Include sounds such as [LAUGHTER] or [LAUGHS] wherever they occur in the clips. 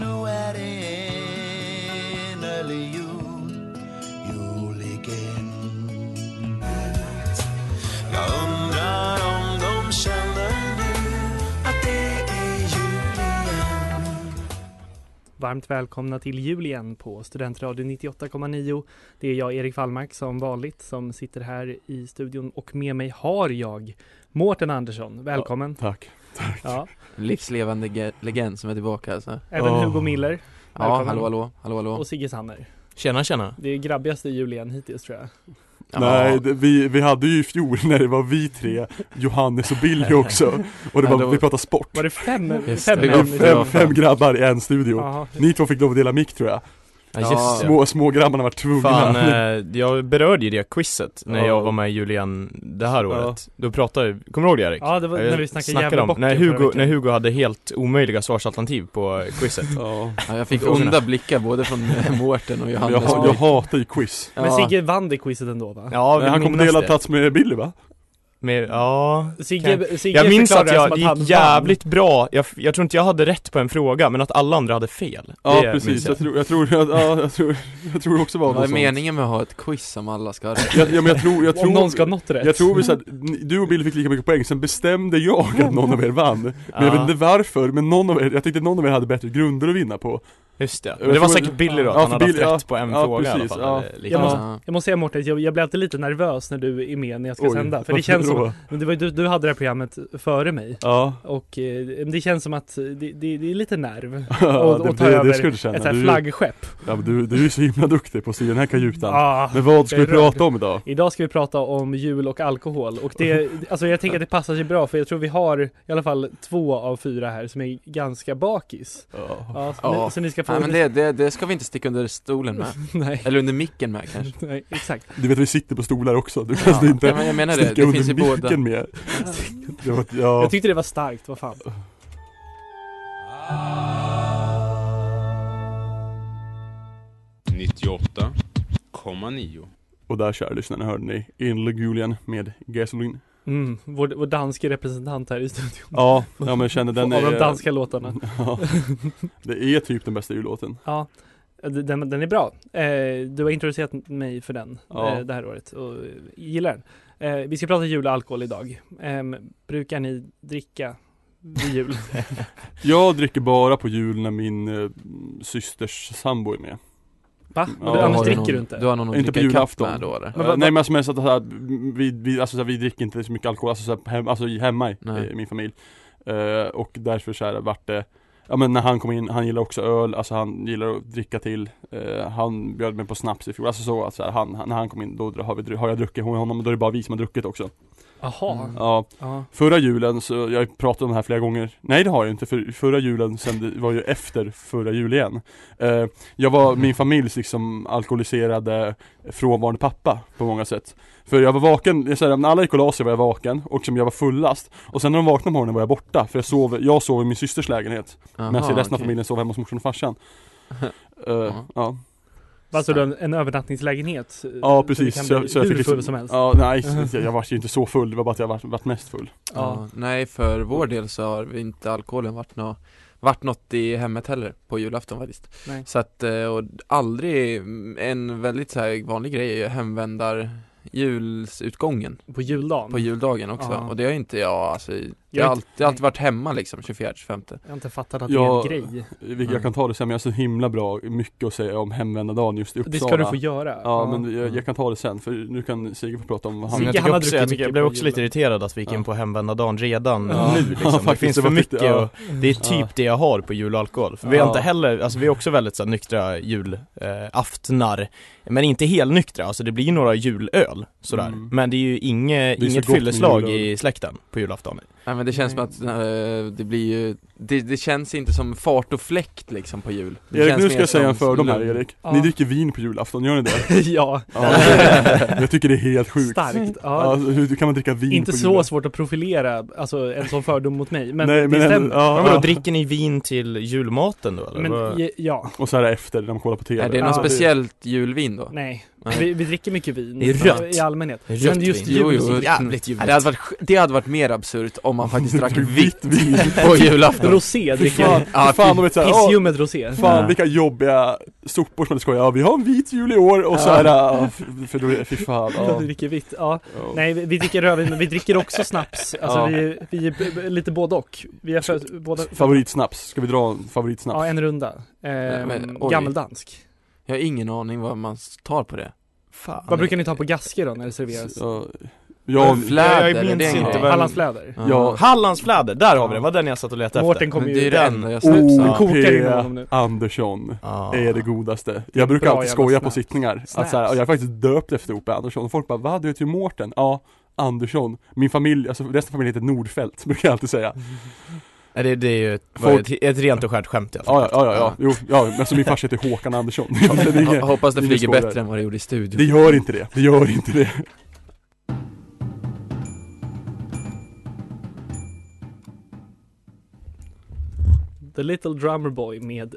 Nu är det enölig jul, jul igen Jag undrar om de känner nu att det är jul igen Varmt välkomna till jul igen på Studentradion 98,9. Det är jag, Erik Wallmark, som vanligt som sitter här i studion och med mig har jag Mårten Andersson. Välkommen! Tack. Ja, Livslevande ge- legend som är tillbaka alltså. Även Åh. Hugo Miller Ja, Välkommen. hallå hallå, hallå hallå och Sigge Sanner. Tjena tjena. Det är grabbigaste jul igen hittills tror jag. Ja. Nej, det, vi, vi hade ju i fjol när det var vi tre, Johannes och Billy också. Och det Ja, var, det var- vi pratade sport. Var det fem? Just fem det, namn var i fjol? fem, fem grabbar i en studio. Jaha. Ni två fick lov att dela mick tror jag. Ja Ja. just det. Små, små grabbarna var tvungna. Fan, eh, jag berörde ju det quizet när Ja. jag var med i Julian det här Ja. året. Då pratade kommer du ihåg det Erik? Ja, det var Jag när vi snackade om, Gävlebocken när förra Hugo, veckan. när Hugo hade helt omöjliga svarsalternativ på eh, [LAUGHS] quizet. ja. Ja, jag fick Frågorna. onda blickar både från [LAUGHS] eh, Mårten och jag, Johannes jag, jag hatar ju quiz. Ja. Men Sigge vann det quizet ändå va? Ja, Men han minnas kom på delad det. plats med Billy va? Med, ja. Sigge, Sigge Jag minns förklarar det att som jag, det han vann. gick jävligt bra, jag, f- jag tror inte jag hade rätt på en fråga, men att alla andra hade fel. Ja Det minns precis, jag. jag tror, jag tror, jag, ja, jag tror, jag tror också var Vad något är meningen med att ha ett quiz som alla ska ha rätt? sånt. Jag, ja, men jag tror, jag tror, Om någon ska ha nått rätt. jag tror vi så att, ni- du och Billy fick lika mycket poäng, sen bestämde jag att någon av er vann. Men jag Ja, vet inte varför, men någon av er, jag tyckte någon av er hade bättre grunder att vinna på Just det, Jag men det var tror- säkert Billy då, Ja, att han för hade haft Billy, ja. rätt på en Ja, fråga i alla precis, fall. ja. eller lite Jag måste, så. jag måste säga Mårten, jag, jag blev alltid lite nervös när du är med när jag ska sända. För det varför känns som, då? men det var, ju du, du hade det här programmet före mig. Ja, Och eh, det känns som att det, det, det är lite nerv. [LAUGHS] ja och det, ta det, över det ska du känna. Ett sånt här Du, flaggskepp. ja, men du, du är ju så himla duktig på att sy den här kajutan. Ah. Men vad ska jag vi är rörd. prata om idag? Idag ska vi prata om jul och alkohol och det, alltså jag tänker att det passar sig bra för jag tror vi har i alla fall två av fyra här som är ganska bakis. Ja, så, Ja. Ni, så ni ska få... Nej men det, det, det ska vi inte sticka under [LAUGHS] stolen med, [LAUGHS] nej, eller under micken med kanske nej, exakt. Du vet vi sitter på stolar också, du kan inte ja, men jag menar det, sticka det under finns ju båda [LAUGHS] micken mer. Det var- Ja, Jag tyckte det var starkt, vad fan. och där kära lyssnare hörde ni In Lugulian med Gasoline. Mm, vår, vår danske representant här i studion. Ja, ja men kände den av är... de danska låtarna. [LAUGHS] Ja, det är typ den bästa jullåten. Ja, den, den är bra. Eh, du har introducerat mig för den Ja. eh, det här året och eh, gillar den. Eh, vi ska prata jul och alkohol idag. Ehm, brukar ni dricka vid [LAUGHS] jul? Jag dricker bara på jul när min eh, systers sambo är med. Va? Ja, Men har annars du dricker någon, du inte? Du har någon att Inte på dricka ikapp julafton. med då eller? Men Eh, vad- Nej men alltså, men så att så här, vi, vi, alltså, så här, vi dricker inte så mycket alkohol, alltså, så här, hem, alltså i- hemma i, Nej. i min familj Eh, Och därför så här vart det Ja men när han kom in, han gillar också öl, alltså han gillar att dricka till Eh, Han bjöd mig på snaps i fjol, alltså så att så här, han, han, när han kom in då dr- har, vi, dru- har jag druckit hon- honom och då är det bara vi som har druckit också Jaha. Mm. Ja, Ja. förra julen så, jag har pratat om det här flera gånger Nej det har jag inte, för förra julen sen det var ju efter förra jul igen Eh, Jag var min familjs liksom alkoholiserade frånvarande pappa på många sätt För jag var vaken, jag säger, när alla gick och la sig var jag vaken och som jag var fullast Och sen när de vaknade på morgonen var jag borta för jag sov, jag sov i min systers lägenhet Jaha, Medan resten av okej. familjen sov hemma hos morsan [LAUGHS] och farsan Eh, Ja. ja. Vad så du en, en övernattningslägenhet? eh, ja så du precis, kan så bli jag, så jag hur fick liksom, full som helst? Ja, nej, [LAUGHS] jag, jag var ju inte så full, det var bara att jag var, varit mest full Ja. ja. Nej för vår del så har vi inte alkoholen varit nå varit något i hemmet heller på julafton faktiskt Nej. Så att, eh, och aldrig, mm, en väldigt så här vanlig grej är ju hemvändar julsutgången På juldagen? På juldagen också, Mm. Ja. och det har inte jag alltså, Jag jag har har alltid, alltid varit hemma liksom 24, 25 Jag har inte fattat att Ja. det är en grej. Vilket Mm. jag kan ta det sen, men jag har så himla bra mycket att säga om hemvända dagen just i Uppsala Det ska du få göra. Ja men jag, Mm. jag kan ta det sen, för nu kan Sigge få prata om vad Men Sigge, han jag, han tycker har också, druckit jag, tycker, mycket jag blev på också julen. lite irriterad att vi gick in på hemvända dagen redan Ja. nu liksom. [LAUGHS] Ja, Det faktiskt, finns det för var lite- mycket ja. och Det är typ Ja. det jag har på jul och alkohol. För vi har Ja. inte heller, alltså vi är också väldigt så här, nyktra julaftnar eh, aftnar. Men inte helnyktra, alltså det blir ju några julöl sådär. Mm. Men det är ju inge, Det är så inget gott med fylleslag julöl. i släkten på julafton Nej men men det känns som att eh, det blir ju det, det känns inte som fart och fläkt liksom på jul det Erik, känns nu ska mer jag säga en som fördom här lugn. Erik. Ja. Ni dricker vin på julafton, gör [LAUGHS] ni det? ja, Ja, jag tycker det är helt sjukt. starkt. Ja. Alltså, hur kan man dricka vin Inte på så julen? svårt att profilera, alltså en sån fördom mot mig. Men Nej, det men ändå- stämmer. ja, Men ja. vadå, dricker ni vin till julmaten då eller? Men Vad- je- ja, Och så här efter när man kollar på TV. Är det Ja, något det- speciellt julvin då? nej. Nej. Vi, vi dricker mycket vin. Det är rött. I allmänhet. Rött Men just vin. jul- Jo, jo. Jävligt Ja, det, ljuvligt. hade varit, sj- det hade varit mer absurt om man [LAUGHS] faktiskt drack vitt vin. [LAUGHS] på julafton Rosé Fy dricker fan, jag. fy Ja, fan de vet såhär, åh, Pissljummet rosé. fan Ja. vilka jobbiga sopor som hade skojat. Ja, vi har en vit jul i år och så Ja. är det, ja, f- för då är det, fy fan. [LAUGHS] Ja. Ja. Vi dricker vitt, ja. Ja. Nej, vi, vi dricker rödvin men vi dricker också snaps. Alltså Ja. vi, vi är b- b- lite både och. Vi är för, båda, Favoritsnaps, ska vi dra en favoritsnaps? Ja, en runda. Ehm, men, oj. gammeldansk. Jag har ingen aning vad man tar på det Fan. Vad brukar ni ta på gasker då när det serveras? Ja, jag, Fläder, jag minns är det en inte grej? vad- Hallandsfläder. Ja. Ja. Hallandsfläder, där har vi den, var den jag satt och letade efter. Mårten Men kommer det ju... är det den. enda jag [LAUGHS] snusar Det O.P. kokar inom honom nu. Andersson Ah. är det godaste. Jag brukar Bra alltid jävla skoja på snaps. sittningar. Att Snaps. så här, jag är faktiskt döpt efter O.P. Andersson. Och folk bara, vad Du heter ju Mårten? Ja, Andersson. Min familj, alltså resten av familjen heter Nordfält, [LAUGHS] brukar jag alltid säga. Nej, det, det är ju ett, Folk- ett, ett rent och skärt skämt i alla fall. Ja, ja, ja, ja, ja. Jo, ja men alltså min farsa heter Håkan Andersson. [LAUGHS] Det är Ho- inget- Hoppas det ingen flyger skoj bättre där. än vad det gjorde i Det studion gör inte det, det gör inte det. The Little Drummer Boy med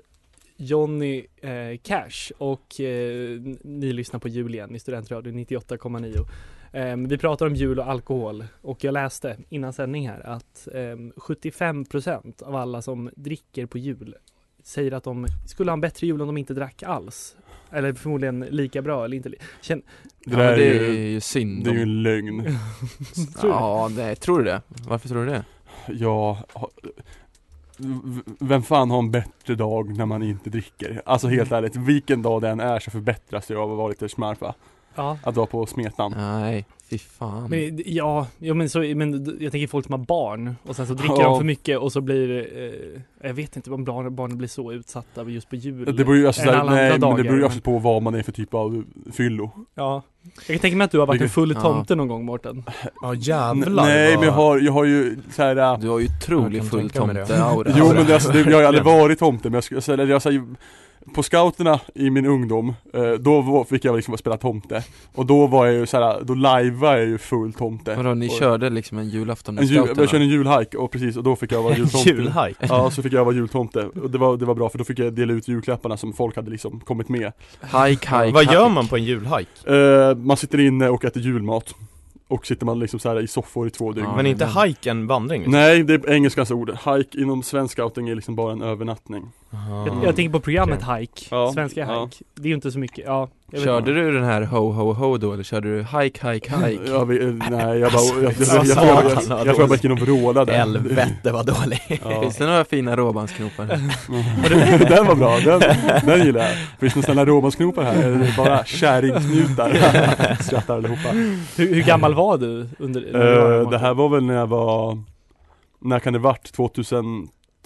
Johnny eh, Cash och eh, n- ni lyssnar på jul igen i Studentradion 98,9. Ehm, vi pratar om jul och alkohol och jag läste innan sändning här att ehm, 75% av alla som dricker på jul säger att de skulle ha en bättre jul om de inte drack alls. Eller förmodligen lika bra eller inte. li- Känn, Det ja, där men är det är ju, ju synd det är ju om- en lögn. tror du? Ja, nej, tror du det? Varför tror du det? Ja, ha- v- vem fan har en bättre dag när man inte dricker? Alltså helt Mm. ärligt, vilken dag den är så förbättras jag av att vara lite smärpa. ja. Att vara på smetan. Nej, fy fan Mm. Men, ja, ja men, så, men d- jag tänker folk som har barn och sen så dricker Ja. de för mycket och så blir, eh, jag vet inte om barn, barnen blir så utsatta just på jul. Det beror ju alltså Än såhär, alla nej andra men det beror ju dagar. alltså på vad man är för typ av fyllo. Ja. Jag kan tänka mig att du har varit en full Ja. tomte någon gång Mårten. Ja, N- jävlar. Nej vad- men jag har, jag har ju såhär Du har ju otrolig Jag kan full tänka mig det. tomte-aura Jo men det, alltså, det, jag har ju aldrig Verkligen. varit tomte men jag skulle, alltså, eller jag säger på scouterna i min ungdom, eh, då var- fick jag liksom spela tomte Och då var jag ju såhär, då lajvade jag ju full tomte Vadå, ni Och- körde liksom en julafton en med jul, Jag körde scouterna? en julhike och precis, och då fick jag vara [LAUGHS] jultomte Julhaj. Ja, så fick jag vara jultomte, och det var, det var bra för då fick jag dela ut julklapparna som folk hade liksom kommit med Hike, hike, Vad gör hike. man på en julhaj? eh, Man sitter inne och äter julmat Och sitter man liksom så här i soffor i två dygn Ja, Men inte men- hajk en vandring? liksom? Nej, det är engelskans ord. Hike inom svensk scouting är liksom bara en övernattning. Ah. Jag, jag tänker på programmet Hike, Ja. Svenska Ja. Hike. Det är ju inte så mycket, ja. Jag vet Körde inte. du den här ho ho ho då eller körde du hike hike hike? Jag vet, nej, jag bara, jag, jag, jag, Alltså, jag, jag, jag, jag, satan, vad jag tror jag bara gick in och vrålade. Helvete vad dålig. Ja. Finns det några fina råbandsknopar? Mm. den [LAUGHS] var bra, den, den gillar jag. Finns det några snälla råmansknopar här? Eller är det bara kärringknutar? [LAUGHS] Skrattar allihopa. Hur, hur gammal var du under, när du var Uh, Mårten? det här var väl när jag var, när kan det varit?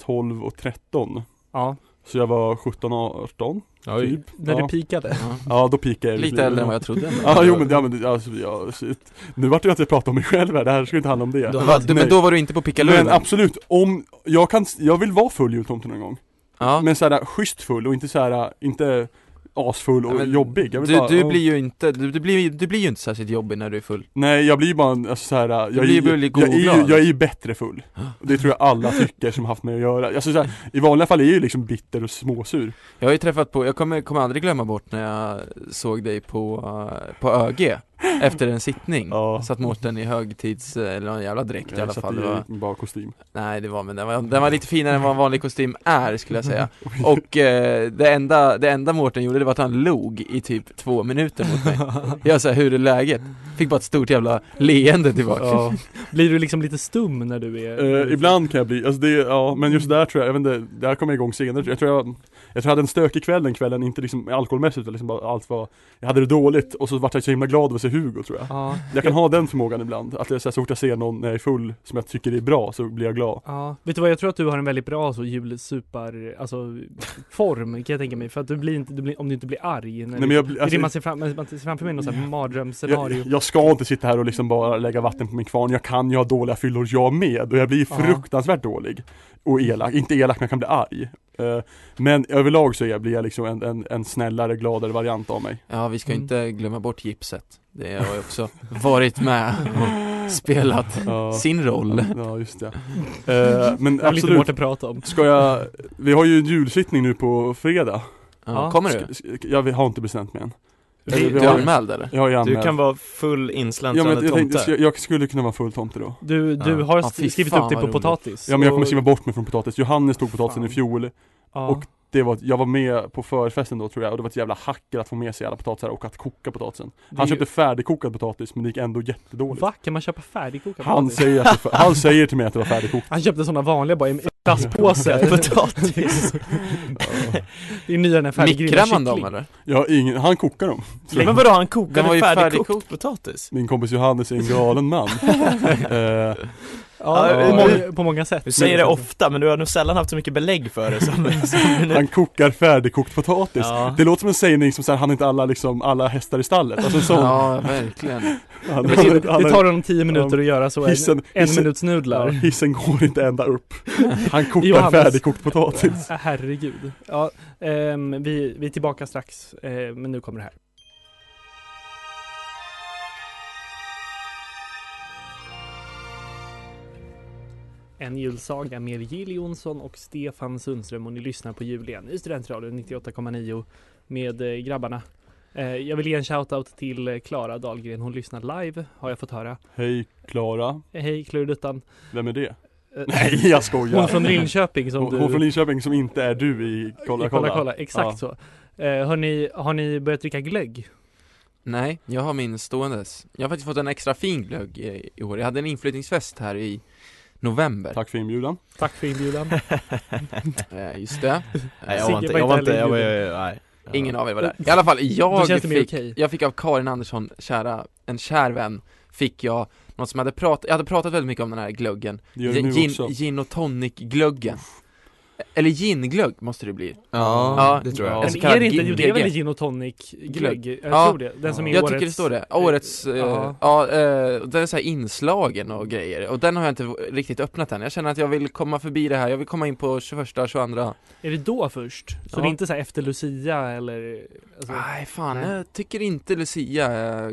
2012 och 13? Ja, Så jag var 17 och 18? Oj. när Ja. det pikade. Ja. Ja, då peakade jag. i mitt Mm. Lite liv. äldre än vad jag trodde ändå. Ja, jo men, ja, men alltså, ja, shit. Nu vart det ju att jag pratade om mig själv här, det här ska ju inte handla om det. Då Va, du, Nej. men då var du inte på Pickalurven? Men absolut, om, jag kan, jag vill vara full jultomte någon gång ja. Men såhär schysst full och inte såhär, inte asfull och Ja, men jobbig jag vill du, bara, du ja. blir ju inte, du, du, blir, du blir ju inte särskilt jobbig när du är full Nej jag blir ju bara en, alltså, såhär, jag, blir ju är- väldigt god jag, är och ju, glad. jag är ju bättre full Det tror jag alla tycker som haft med att göra, alltså, såhär, i vanliga fall är jag ju liksom bitter och småsur Jag har ju träffat på, jag kommer, kommer aldrig glömma bort när jag såg dig på, eh, på ÖG Efter en sittning Ja. Satt Mårten i högtids, eller någon jävla dräkt Eh, i alla fall det var, satt i bara kostym Nej det var, men den var, den var lite finare än vad en vanlig kostym är skulle [LAUGHS] jag säga Och eh, det enda, det enda Mårten gjorde det var att han log i typ två minuter [LAUGHS] mot mig Jag sa hur är läget? Fick bara ett stort jävla leende tillbaka ja. Blir du liksom lite stum när du Eh, är... Eh, Ibland kan jag bli, alltså det, ja men just där tror jag, jag vet inte, där kommer jag igång senare Jag tror jag, jag tror jag hade en stökig kväll den kvällen, inte liksom alkoholmässigt utan liksom bara allt var Jag hade det dåligt och så vart jag så himla glad över att se Hugo tror jag Ja, Jag kan ha den förmågan ibland, att jag, så, här, så fort jag ser någon när jag är full som jag tycker är bra så blir jag glad ja. Vet du vad, jag tror att du har en väldigt bra så julsupar, alltså form kan jag tänka mig. För att du blir inte, du blir, om du inte blir arg. När Nej men jag blir- det är det alltså, man ser, fram, man ser framför mig, något sånt här jag, mardrömsscenario. jag ska inte sitta här och liksom bara lägga vatten på min kvarn, jag kan ju ha dåliga fyllor jag med och jag blir Ja. fruktansvärt dålig Och elak, inte elak men jag kan bli arg Eh, Men överlag så är jag, blir jag liksom en, en, en snällare, gladare variant av mig Ja, vi ska Mm. inte glömma bort gipset. Det har jag också varit med och spelat [LAUGHS] Ja. sin roll. Ja just det. Eh, men Jag vill inte absolut, bort att prata om. ska jag, vi har ju en julsittning nu på fredag. Ja. Ja. Kommer du? Ska- ska- Jag har inte bestämt mig än. Det- Eller, Du vi är har, anmäld eller? jag har ju Du anmält. kan vara full ja, men insläntrande jag, jag, tänkte, tomte. jag, jag skulle kunna vara full tomte då. Du, du Ja. har Ja, fy skrivit fan, upp dig vad på roligt. potatis. Ja men jag kommer Och- skriva bort mig från potatis. Johannes tog potatisen i Fan. fjol. ja. och- Det var, jag var med på förfesten då tror jag och det var ett jävla hackel att få med sig alla potatisar och att koka potatisen. Det är Han ju- köpte färdigkokad potatis men det gick ändå jättedåligt. Va? Kan man köpa färdigkokad Han potatis? säger, att det, [LAUGHS] han säger till mig att det var färdigkokt. Han köpte sådana vanliga bara i [LAUGHS] en plastpåse. Potatis. Det är nya den här färdiggrillade Mikrar man dem kyckling. eller? Jag har ingen, han kokar dem. Men vadå, han Den var ju kokade färdigkokt färdigkokt. potatis? Min kompis Johannes är en galen man. [LAUGHS] Eh, Ja, Ja, på, men- många, på många sätt. Du säger det ofta, men du har nog sällan haft så mycket belägg för det [LAUGHS] som, som nu. Han kokar färdigkokt potatis. Ja. [LAUGHS] Det låter som en sägning som så här, han är inte alla liksom, alla hästar i stallet. Alltså en sån. Ja, verkligen. Han, Det, han, han, det tar honom tio minuter att göra så. En, hissen- en hissen- minuts ja, nudlar. hissen går inte ända upp. Han kokar Johannes. färdigkokt potatis. Ah, Herregud. Ja, ehm, vi, vi är tillbaka strax, eh, men nu kommer det här. En julsaga med Jill Johnson och Stefan Sundström och ni lyssnar på jul igen i Studentradion 98,9 med eh, grabbarna. Eh, jag vill ge en shoutout till eh, Klara Dahlgren. Hon lyssnar live har jag fått höra. Hej Klara, Eh, Hej Kluruduttan. vem är det? Eh, [LAUGHS] Nej jag skojar. Hon från Linköping som Hon, du... hon från Linköping som inte är du i Kolla Kolla. Exakt Ja. så. Eh, hörni, har ni börjat dricka glögg? Nej, jag har min ståendes. Jag har faktiskt fått en extra fin glögg i i år. Jag hade en inflyttningsfest här i november. Tack för inbjudan. Tack för [LAUGHS] inbjudan. Eh, just det. Nej jag Sigge var inte, var jag var inte inte, jag var, heller jag, nej. Ja. Ingen av er var där. I alla fall, jag Då känns det mer fick, okej. jag fick av Karin Andersson, kära, en kär vän, fick jag något som jag hade pratat, jag hade pratat väldigt mycket om den här glöggen. Det gör du nu gin, också. gin och tonic-glöggen. Eller ginglögg måste det bli. Ja, Ja. det tror jag. Ja. Men så är kallad det inte, jo det är GG. väl gin och tonic glögg? Jag Ja. tror det. Den som är jag årets... tycker det står det. Årets, eh, Ja. ja, eh, den är så här inslagen och grejer. Och den har jag inte riktigt öppnat än. Jag känner att jag vill komma förbi det här, jag vill komma in på 21, 22. Är det då först? Så Ja. Ah, det är inte så här efter Lucia eller? Alltså, Nej fan, jag tycker inte Lucia eh,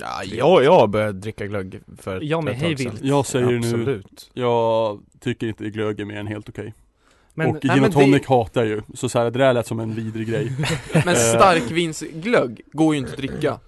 Ja, jag, jag började dricka glögg för Jag med, ett tag hej sedan. vilt. Jag säger nu, Absolut. jag tycker inte glögg är mer än helt okej. men och Nej, gin men och det- tonic hatar jag ju, så, så här, det där lät som en vidrig [LAUGHS] grej. Eh. Men starkvinsglögg går ju inte att dricka. Alltså,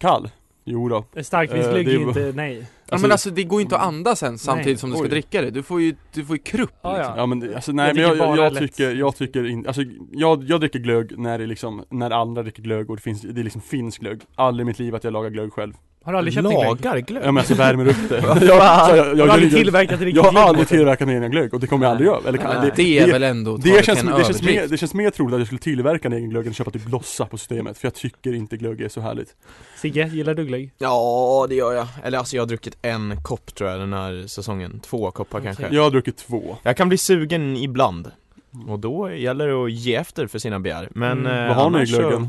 Kall? Jo då. starkvinsglögg Eh, är det är ju inte, nej. Ja men alltså det går ju inte att andas sen samtidigt som du ska Oj. dricka det, du får ju, du får ju krupp Ah, ja. liksom. Ja men det- alltså, nej Jag men jag, dricker jag, bara jag lätt. tycker, jag tycker in, alltså jag, jag dricker glögg när det liksom, när andra dricker glögg och det finns, det liksom finns glögg Aldrig i mitt liv att jag lagar glögg själv Har du aldrig köpt en glögg? Lagar glögg? Ja men alltså [LAUGHS] värmer upp det [LAUGHS] jag, Vad jag, jag, Har jag, du aldrig jag, tillverkat jag riktigt har glögg? aldrig tillverkat min egen glögg och det kommer jag aldrig göra, eller kan, Men det, det är väl ändå att ta det det känns, till en det, känns mer, överdrift. det känns mer troligt att jag skulle tillverka en egen glögg än köpa typ Blossa på systemet För jag tycker inte glögg är så härligt Sigge, gillar du glögg? Ja, det gör jag. Eller alltså jag har druckit en kopp tror jag den här säsongen. Två koppar kanske. Jag har druckit två Jag kan bli sugen ibland. Och då gäller det att ge efter för sina begär. Men Mm. eh, Vad har ni i annars så- glöggen?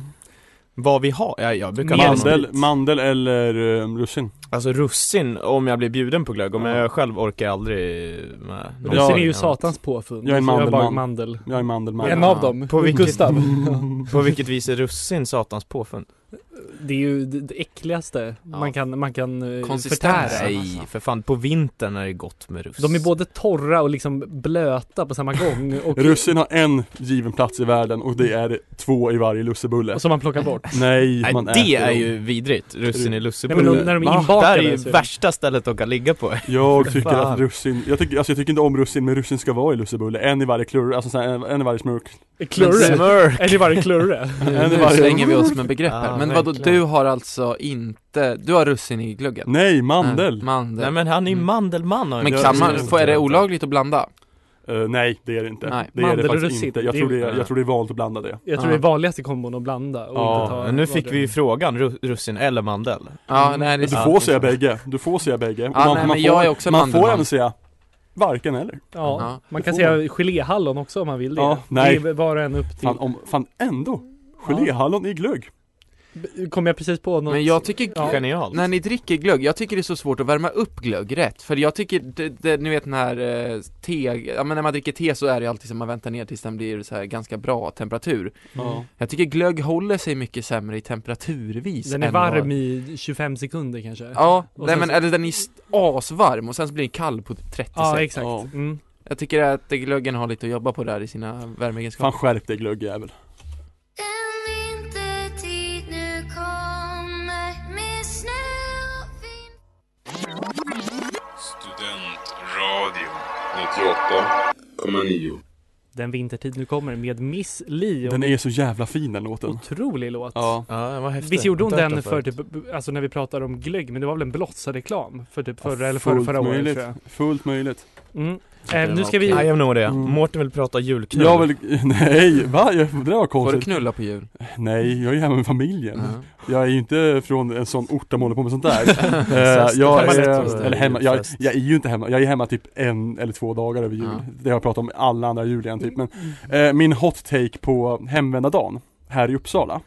Vad vi har? Ja, jag brukar Mer än blanda. sprit. Mandel, mandel eller um, russin? Alltså russin om jag blir bjuden på glögg. Om Ja. jag själv orkar jag aldrig med någon Russin är annan. ju satans påfund. Jag är en så bara mandelman. mandel. Jag är mandelman En av dem. På vilket- Gustav. [LAUGHS] På vilket vis är russin satans påfund? Det är ju det, det äckligaste Ja. man kan, man kan eh, Konsistens. förtära. Nej, för fan. På vintern är det gott med russ. De är både torra och liksom blöta på samma gång och, Russin har en given plats i världen och det är två i varje lussebulle och som man plockar bort. Nej, Nej, man det äter är dem. ju vidrigt. Russin i Nej, men lussebulle. de- när de är Va? inbakade Där är ju så är de- värsta stället att kan ligga på. Jag tycker Fan. att russin, jag tycker, alltså jag tycker inte om russin men russin ska vara i lussebulle, en i varje klurre, alltså så här, en, en i varje smurk Klurre. Smör. Är det varje klurre? Nu, En i nu varje- slänger vi oss med begrepp här. Ja, men vadå, verkligen. du har alltså inte, du har russin i glöggen? Nej, mandel! Nej, mandel. Nej men, men han är ju Mm. mandelman har jag- jag- kan jag- man, får, är det olagligt att blanda? Eh, nej, det är det inte. Nej. Det är Mandel det och faktiskt russin, inte. Jag det är- tror det är, jag tror det är vanligt att blanda det. Jag tror Ja. det är vanligaste kombon att blanda och Ja, inte ta nu fick vad vi det- ju frågan, ru- russin eller mandel. Ja, nej det Du är sant. får säga bägge, du får säga bägge. Och Ja, nej, men jag är också man får mandelman. Mm. även säga varken eller. Ja, Ja, man det kan får säga geléhallon också om man vill det. Ja, nej. Det är bara en upp till. Fan, om, fan ändå! Geléhallon i glögg. B- Kom jag precis på något? Men jag tycker Ja. Genialt. När ni dricker glögg, jag tycker det är så svårt att värma upp glögg rätt, för jag tycker, det, det, ni vet den här eh, te, ja men när man dricker te så är det alltid så att man väntar ner tills den blir så här ganska bra temperatur Mm. Ja. Jag tycker glögg håller sig mycket sämre i temperaturvis Den är än vad- varm i 25 sekunder kanske. Ja, Och nej sen men så- eller den är st- asvarm och sen så blir den kall på 30 Ja, sek. exakt. Ja. Mm. Jag tycker att glöggen har lite att jobba på där i sina Fan värmeegenskaper skärp dig glöggjävel. En vintertid nu kommer med snö och vind Studentradion 98,9. Den vintertid nu kommer med Miss Li. och Den en är så jävla fin den låten. Otrolig låt. Ja. Ja, vad häftigt. Visst gjorde hon Inte hört den för förut. typ, alltså när vi pratade om glögg, men det var väl en blossa-reklam för typ Ja, förra eller förra, fullt förra året möjligt. tror jag. Fullt möjligt. Mm. Det Eh, var nu ska vi... okej. Nej, jag nog det. Mm. Mårten vill prata julknull. Jag vill, [LAUGHS] nej, va? Jag, det där var Får du konstigt. knulla på jul? Nej, jag är hemma med familjen. Ja. Jag är ju inte från en sån ort där man håller på med sånt där. Fest, Eh, jag fest, är, fest. eller hemma, jag, Julfest. jag är ju inte hemma, jag är hemma typ en eller två dagar över jul. Ja. Det har jag pratat om i alla andra jul igen typ. Men eh, min hot take på hemvändardagen här i Uppsala.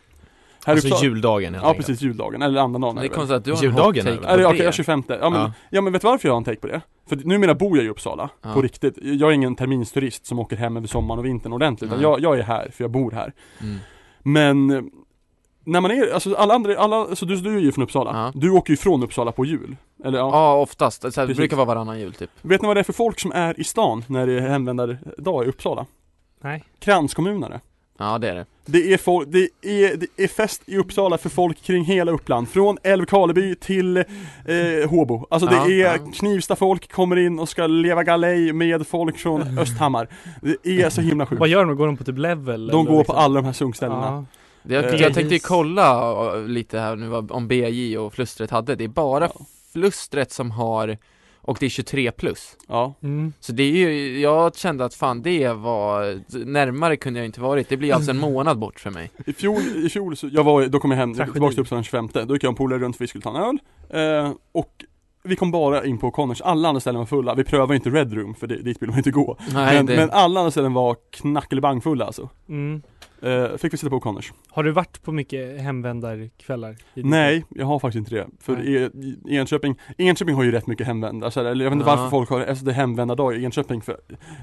Här i Alltså Uppsala. juldagen helt Ja enkelt. precis, juldagen, eller andra dagen. Det är det är väl. konstigt att du har en hot Juldagen, take eller? på Ja, det- Okej, det. jag är 25. Ja men, Ja. ja. men vet du varför jag har en take på det? För numera bor jag i Uppsala, Ja. på riktigt. Jag är ingen terminsturist som åker hem över sommaren och vintern ordentligt, utan Nej. jag, jag är här, för jag bor här. Mm. Men eh, när man är, alltså alla andra, alla, så du, du är ju från Uppsala. Ja. Du åker ju från Uppsala på jul. Eller ja. Ja, oftast, så här, det Precis. brukar vara varannan jul typ Vet ni vad det är för folk som är i stan när det är hemvändardag i Uppsala? Nej. Kranskommunare. Ja det är det Det är, folk, det, är, det är fest i Uppsala för folk kring hela Uppland, från Älvkarleby till eh, Håbo. Alltså det Ja, är ja. Knivsta folk kommer in och ska leva galej med folk från Östhammar. Det är så himla sjukt. Vad gör de? Går de på typ level? De eller går på liksom? alla de här sunkställena. Ja. Det- Jag, Eh, jag tänkte ju precis. kolla eh, lite här nu vad- om BJ och flustret hade, det är bara Ja. flustret som har, och det är 23 plus Ja. Mm. Så det är ju, jag kände att fan det var, närmare kunde jag inte varit, det blir [LAUGHS] alltså en månad bort för mig I fjol, i fjol så, jag var, då kom jag hem, jag Tragedi. gick tillbaka till Uppsala den 25 Då gick jag och en polare runt för vi skulle ta en öl eh, Och vi kom bara in på Conners, alla andra ställen var fulla Vi prövade inte Red Room för det, dit vill man inte gå Nej men, det, men alla andra ställen var knackelbangfulla alltså Mm. eh, Fick vi sitta på Conners? Har du varit på mycket hemvändarkvällar? i ditt liv? Nej, jag har faktiskt inte det För Nej. i, i Enköping, Enköping har ju rätt mycket hemvända så här, Eller jag vet inte Ja. varför folk har, alltså det är hemvändardag i Enköping för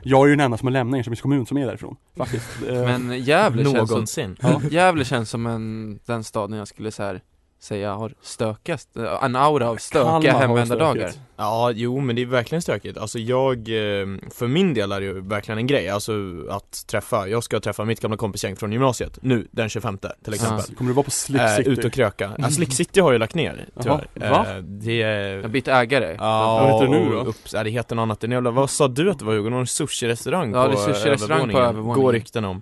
Jag är ju den enda som har lämnat Enköpings kommun som är därifrån Faktiskt eh, men Gävle känns som, Någonsin. Gävle känns som en, den staden jag skulle så här säga har stökast, eh, en aura av Kalmar stökiga har hemvändardagar stökigt. Ja, jo men det är verkligen stökigt. Alltså jag, eh, för min del är det ju verkligen en grej, alltså att träffa, jag ska träffa mitt gamla kompisgäng från gymnasiet nu den 25 till exempel. Kommer du vara på Slip liksom. Eh, City? ut och kröka. Ja, Slick City har ju lagt ner tyvärr. Jaha, va? Eh, det är... Jag har bytt ägare Ja, Vad heter det nu och då? Upp, ja, det heter något annat, Den jävla, vad sa du att det var Hugo? Någon sushi-restaurang Ja, på det är sushi-restaurang på övervåningen. Går rykten om.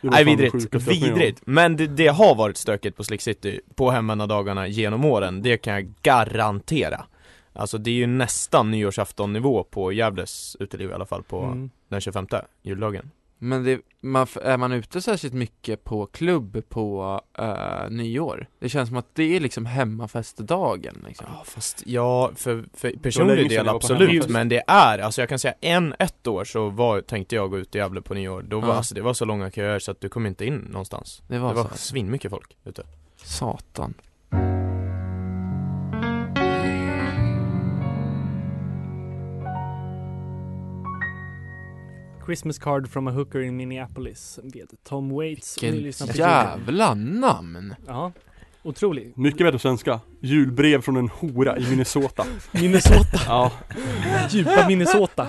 Det var Nej fan det vidrigt, sjukaste jag varit med om. vidrigt. Men det, det har varit stökigt på Slick City på hemvändardagarna genom åren, det kan jag garantera. Alltså det är ju nästan nyårsafton-nivå på Gävles uteliv i alla fall på Mm. den 25 juldagen. Men det, man, f- är man ute särskilt mycket på klubb på eh, nyår? Det känns som att det är liksom hemmafestdagen liksom. Ja fast ja, för, för Det var länge sedan personlig del jag var på absolut, hemfest. men det är, alltså jag kan säga en, ett år så var, tänkte jag gå ut i Gävle på nyår, då var, Ja. alltså det var så långa köer så att du kom inte in någonstans. Det var, Det var så. svinmycket folk ute. Satan. Christmas card from a hooker in Minneapolis med Tom Waits. Ni lyssnar på- Vilken jävla namn! Ja. Otrolig. Mycket bättre svenska. Julbrev från en hora i Minnesota. Minnesota. [LAUGHS] ja. Djupa [LAUGHS] Minnesota.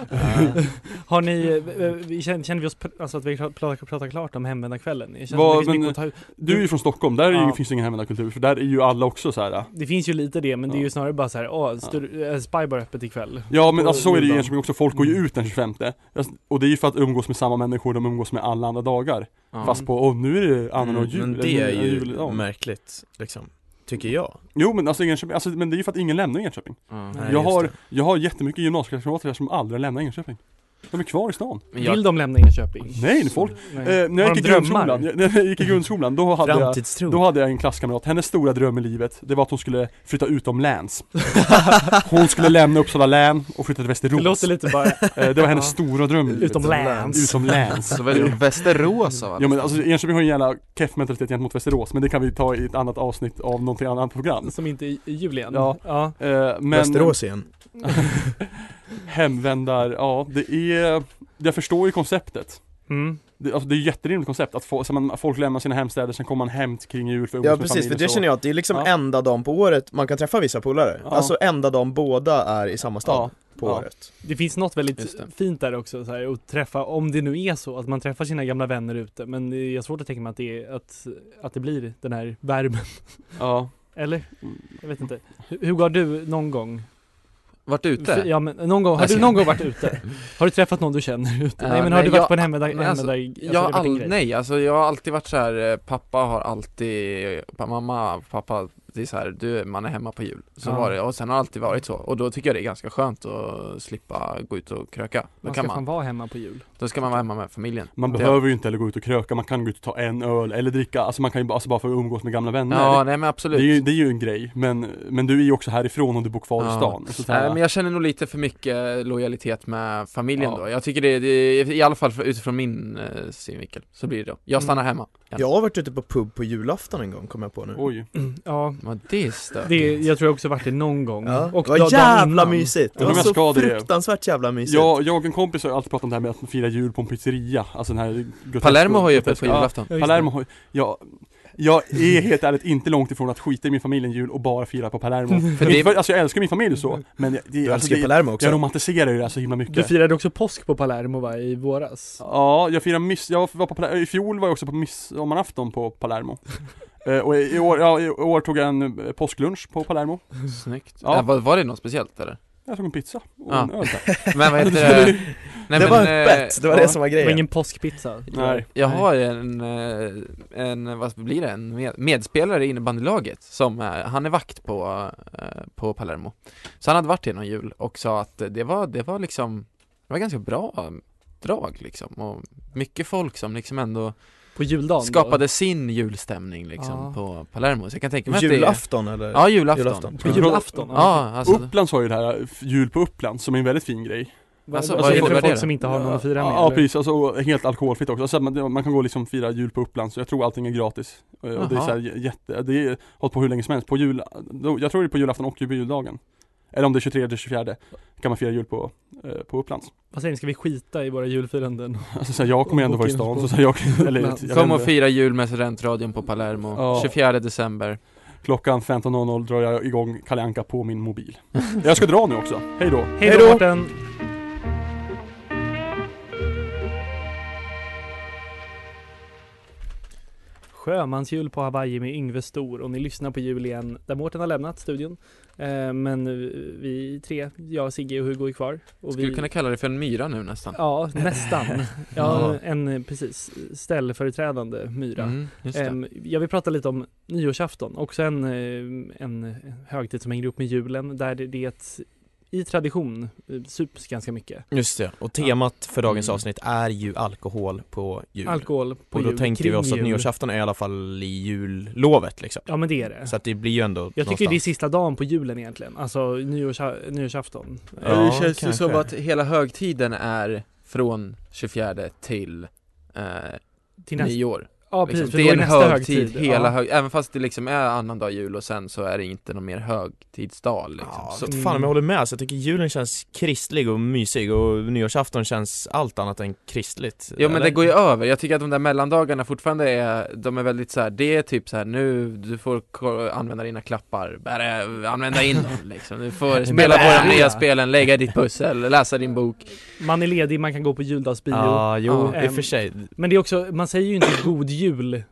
Har ni, eh, vi känner, känner vi oss, pr- alltså att vi pratar, pratar klart om hemvändarkvällen? Jag känner Vad- att det, finns men- mycket att ta, ut. Du är ju från Stockholm, där är ju, Ja. finns det ingen hemvändarkultur, för där är ju alla också så här. det finns ju lite det, men det är ju Ja. snarare bara så här, åh, styr, eh, Spy Bar öppet ikväll. Ja men alltså så är det ju i Juldagen. Enköping också, folk går ju Mm. ut den 25 Alltså, Och det är ju för att umgås med samma människor de umgås med alla andra dagar Ja. Fast på, åh nu är det annan och jul, Mm, men det är eller ju juldag. märkligt, liksom. Tycker jag. Jo men alltså Enköping, alltså, men det är ju för att ingen lämnar Enköping Ja. Nej, jag, just har, det. jag har jättemycket gymnasieklasskamrater som aldrig lämnar Enköping De är kvar i stan. Men Vill jag, de lämna Enköping? Nej, folk- Mm. Nej. Eh, när Har jag de gick i drömmar? grundskolan, [LAUGHS] jag- när jag gick i grundskolan, då hade jag Framtidstro? [LAUGHS] Då hade jag en klasskamrat, hennes stora dröm i livet, det var att hon skulle flytta utomlands Hon skulle lämna Uppsala län och flytta till det Västerås låter lite bara Eh, Det var hennes Ja. stora dröm i livet. utomlands. Utomlands så väljer de Västerås av alla Ja men alltså Enköping har en jävla keff mentalitet gentemot Västerås, men det kan vi ta i ett annat avsnitt av någonting annat program Som inte i- i Julian? Ja. ja. Eh, men Västerås igen. [LAUGHS] Hemvändar, ja det är, jag förstår ju konceptet Mm. det, alltså, det är ett jätterimligt koncept att få, så man, folk lämnar sina hemstäder, sen kommer man hem kring jul för att Ja umgås med precis, för familjen det så. känner jag att det är liksom Ja. enda dagen på året man kan träffa vissa polare. Ja. Alltså enda dagen båda är i samma Ja, stad på ja. året. Det finns något Just väldigt det. fint där också, så här, att träffa, om det nu är så att man träffar sina gamla vänner ute, men jag har svårt att tänka mig att det, är, att, att det blir den här värmen. ja. Eller? Mm. Jag vet inte. Hur, hur har du någon gång? Vart ute? Ja, men, någon gång, har Alltså- du någon gång varit ute? Har du träffat någon du känner ute? Ja, nej men har nej, du varit jag- på en hemvändar? nej, alltså, hemvändar- alltså, Jag det har har varit en all, grej. nej, alltså jag har alltid varit så här, eh, pappa har alltid, eh, pa- mamma, pappa, det är så här, du, man är hemma på jul. Så Ja. var det, och sen har det alltid varit så. Och då tycker jag det är ganska skönt att slippa gå ut och kröka. Då Man kan ska fan man, vara hemma på jul. då ska man vara hemma med familjen. Man Ja. behöver ju inte heller gå ut och kröka, man kan gå ut och ta en öl eller dricka, alltså man kan ju bara- alltså bara få umgås med gamla vänner Ja, nej men det, är ju, absolut. det är ju en grej, men, men du är ju också härifrån och du bor kvar i Ja. stan så, så här, Nej men jag känner nog lite för mycket lojalitet med familjen Ja. då. Jag tycker det, det i alla fall för, utifrån min eh, synvinkel, så blir det då. Mm. Jag stannar hemma. Jag har varit ute på pub på julafton en gång kom jag på nu. Oj, Mm, Ja, Men det är stört. det, jag tror jag också varit det någon gång. Ja. Och det var dagen jävla innan. mysigt, det Undrar var om jag så ska det. fruktansvärt jävla mysigt. jag, jag och en kompis har alltid pratat om det här med att fira jul på en pizzeria, alltså den här groteska- Palermo har ju öppet groteska- på ja, julafton. Ja, just det. [LAUGHS] Palermo har jag, jag är helt ärligt inte långt ifrån att skita i min familj en jul och bara fira på Palermo Mm. För Inte det- för- Alltså jag älskar min familj och så, men jag, det, jag alltså, älskar det, Palermo också. jag romantiserar ju det här så himla Du mycket firade också påsk på Palermo va, i våras? Ja, jag firar miss, jag var på Palermo, i fjol var jag också på midsommarafton på Palermo Eh, Och i i år, ja, i år tog jag en eh, påsklunch på Palermo Snyggt. Ja. Ja. Var, var det något speciellt eller? Jag tog en pizza och Ja. en öl där. [LAUGHS] Men vad heter det? Nej, det men, var eh, öppet, det var ja, det som var Det var grejen. ingen påskpizza? tror jag. Nej. Jag har en, eh, en, vad blir det, en med, medspelare i innebandylaget som, eh, han är vakt på, eh, på Palermo Så han hade varit där någon jul och sa att det var, det var liksom, det var ganska bra drag liksom och mycket folk som liksom ändå På juldagen? då? skapade sin julstämning liksom Ja. på Palermo Så jag kan tänka mig att det är Julafton eller? Ja, julafton, Julafton. På Ja. julafton? Ja, alltså, Upplands har ju det här eh, jul på Uppland som är en väldigt fin grej Vad Alltså, vad vad är det för innebär folk det? som inte har någon att fira med? Ja eller? precis, alltså, och helt alkoholfritt också. Alltså, man, man kan gå och liksom fira jul på Uppland, så jag tror allting är gratis Eh, Och det är Jaha. så här j- jätte, det är hållit på hur länge som helst, på jul, då- jag tror det är på julafton och på juldagen Eller om det är 23 eller 24 kan man fira jul på, eh, på Upplands Vad säger ni, ska vi skita i våra julfiranden? Alltså så här, jag kommer ju ändå vara i stan, så, så här, jag kan- eller, jag vet kom och inte. fira jul med studentradion på Palermo, Ja. 24 december Klockan 15.00 drar jag igång Kalle Anka på min mobil Jag ska dra nu också, hej då! Hej då Mårten! Sjömansjul på Hawaii med Yngve Stor och ni lyssnar på jul igen där Mårten har lämnat studion. Eh, men eh, vi tre, jag, Sigge och Hugo är kvar. Och Skulle vi... kunna kalla det för en myra nu nästan Ja, nästan. Ja, en eh, precis ställföreträdande myra. Mm, just det. Ehm, jag vill prata lite om nyårsafton, också en, eh, en högtid som hänger ihop med julen där det, det är ett- i tradition eh, sups ganska mycket. Just det, och temat för dagens Mm. avsnitt är ju alkohol på jul. Alkohol på och då jul, tänker vi kring oss att jul. nyårsafton är i alla fall i jullovet liksom. Ja men det är det. Så att det blir ju ändå Jag tycker det är någonstans. sista dagen på julen egentligen, alltså nyårs, nyårsafton. eh, Ja, det känns ju kanske. som att hela högtiden är från 24 till eh, Till nästa, nyår. ja precis, Liksom. för det då är är en nästa högtid, hela ja. hög, även fast det liksom är annandag jul och sen så är det inte någon mer högtidsdag liksom. Ja, så, så Mm. fan om jag håller med, så jag tycker julen känns kristlig och mysig och nyårsafton känns allt annat än kristligt. Jo men eller? det går ju över, jag tycker att de där mellandagarna fortfarande är, de är väldigt så här. det är typ så här nu, du får ko- använda dina klappar, bära, använda in dem liksom, du får spela Bära. våra nya spelen, lägga ditt pussel, läsa din bok Man är ledig, man kan gå på juldagsbio. Ja, jo, Ja. i och för sig. Men det är också, man säger ju inte god jul eh,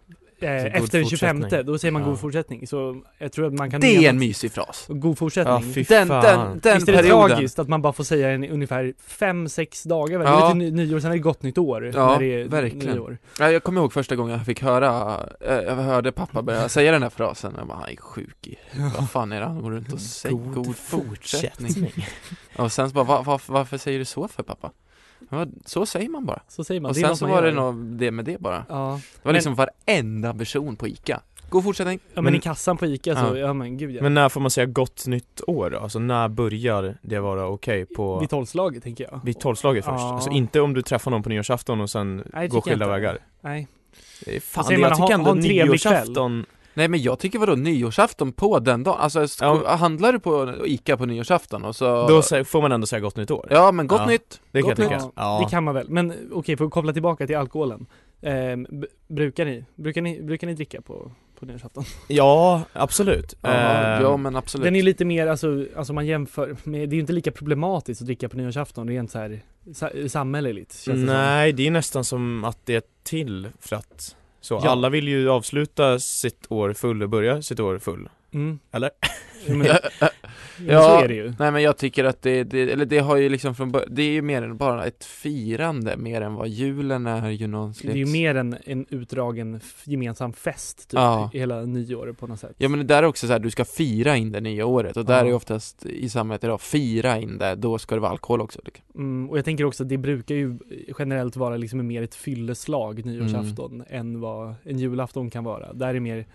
efter den 25, fortsättning. då säger man Ja. god fortsättning. Så jag tror att man kan... Det är mena- en mysig fras God fortsättning. Ja, fy Den, fan. den, den Visst är det perioden tragiskt att man bara får säga den i ungefär 5-6 dagar? Väl? Ja. Det är till ny- nyår, sen är det gott nytt år. Ja, när det är verkligen. Nyår. Ja, jag kommer ihåg första gången jag fick höra, eh, jag hörde pappa börja säga den här frasen, jag bara, han är sjuk i huvudet. vad fan är det han går runt och säger? God fortsättning. Och sen så bara, va, va, varför säger du så för pappa? Ja, så säger man bara. Så säger man. och är sen vad så man var det gör. något, det med det bara. Ja. Det var Men- liksom varenda person på ICA. God fortsättning. ja, men, Men- i kassan på Ica så, ja, Ja. men gud ja. [LAUGHS] Men när får man säga gott nytt år då? Alltså när börjar det vara okej på Vid tolvslaget tänker jag. vid tolvslaget först? Ja. Alltså inte om du träffar någon på nyårsafton och sen Nej, det går tycker jag skilda inte. vägar? Nej. Det är Fan, Vad säger jag man? tycker Ha- ha ändå en trevlig kväll. nyårsafton Nej men jag tycker vadå nyårsafton på den dagen? Alltså sko- Ja. handlar du på ICA på nyårsafton och så... Då sä- får man ändå säga gott nytt år? Ja men gott Ja. nytt! det kan gott jag nytt. tycka. Ja, Det kan man väl. Men okej, för att koppla tillbaka till alkoholen. Ehm, b- brukar, ni, brukar, ni, brukar ni dricka på, på nyårsafton? Ja, absolut. Ja, Eh, Ehm, ja men absolut. Den är lite mer, alltså, alltså man jämför, med, det är ju inte lika problematiskt att dricka på nyårsafton rent så här sa, samhälleligt. Känns Det Nej, det är nästan som att det är till för att så Ja. alla vill ju avsluta sitt år full och börja sitt år full. som. Mm. Eller? Jo, men, ja. Så Ja. är det ju. Nej men jag tycker att det, det, eller det har ju liksom från bör- det är ju mer än bara ett firande mer än vad julen är ju någon Det slags... är ju mer en, en utdragen f- gemensam fest typ, Ja. hela nyår på något sätt. Ja men det där är också så här, du ska fira in det nya året och där Ja. är ju oftast i samhället idag, fira in det, då ska det vara alkohol också liksom. Mm, och jag tänker också att det brukar ju generellt vara liksom mer ett fylleslag nyårsafton Mm. än vad en julafton kan vara. Där är det mer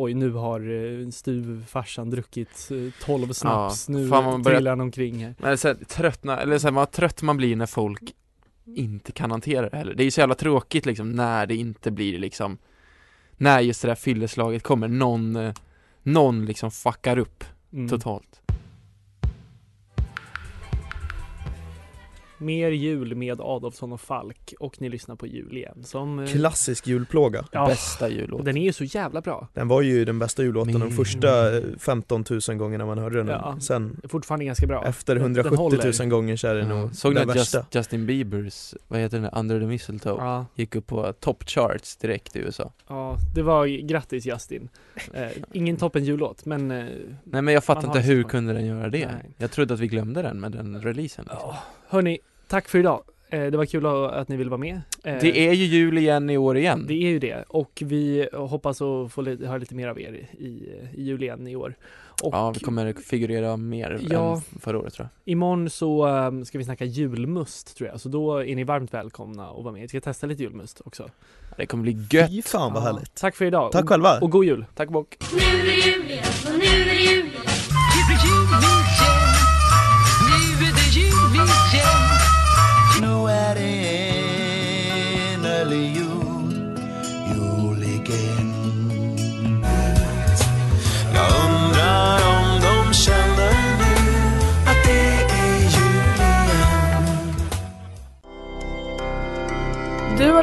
Oj, nu har eh, stuvfarsan druckit eh, 12 snaps, nu fan vad man börjar- trillar han omkring här. Men så här, tröttna, eller så här, vad trött man blir när folk inte kan hantera det heller. Det är ju så jävla tråkigt liksom när det inte blir liksom, när just det där fylleslaget kommer, någon, eh, någon liksom fuckar upp Mm. totalt. Mer jul med Adolfsson och Falk och ni lyssnar på jul igen som... eh, Klassisk julplåga. ja, Bästa och jullåt. den är ju så jävla bra. Den var ju den bästa jullåten de Min- första eh, 15 000 gångerna man hörde den. Ja. Sen Fortfarande ganska bra. efter Den- den 170 håller. 000 gånger så är det nog Såg ni den att värsta. Just, Justin Biebers, vad heter den, där, Under the Mistletoe? Ja, Gick upp på top charts direkt i USA ja, det var grattis Justin. Eh, ingen toppen jullåt men... Eh, Nej men jag fattar Man har inte hur liksom- kunde den göra det? Nej. Jag trodde att vi glömde den med den releasen liksom. ja. hörni, tack för idag. Eh, det var kul att ni ville vara med. Eh, Det är ju jul igen i år igen Det är ju det och vi hoppas att få li- höra lite mer av er i, i jul igen i år. Och Ja, vi kommer figurera mer Ja. än förra året tror jag imorgon så ehm, ska vi snacka julmust tror jag, så då är ni varmt välkomna att vara med. Vi ska testa lite julmust också. Det kommer bli gött Fy fan vad Ja. härligt. Tack för idag Tack och, själva. och god jul! Tack bock! Nu är det jul igen och nu är det jul igen. Nu är det innerlig jul, jul igen Jag undrar om de känner nu att det är jul igen Du har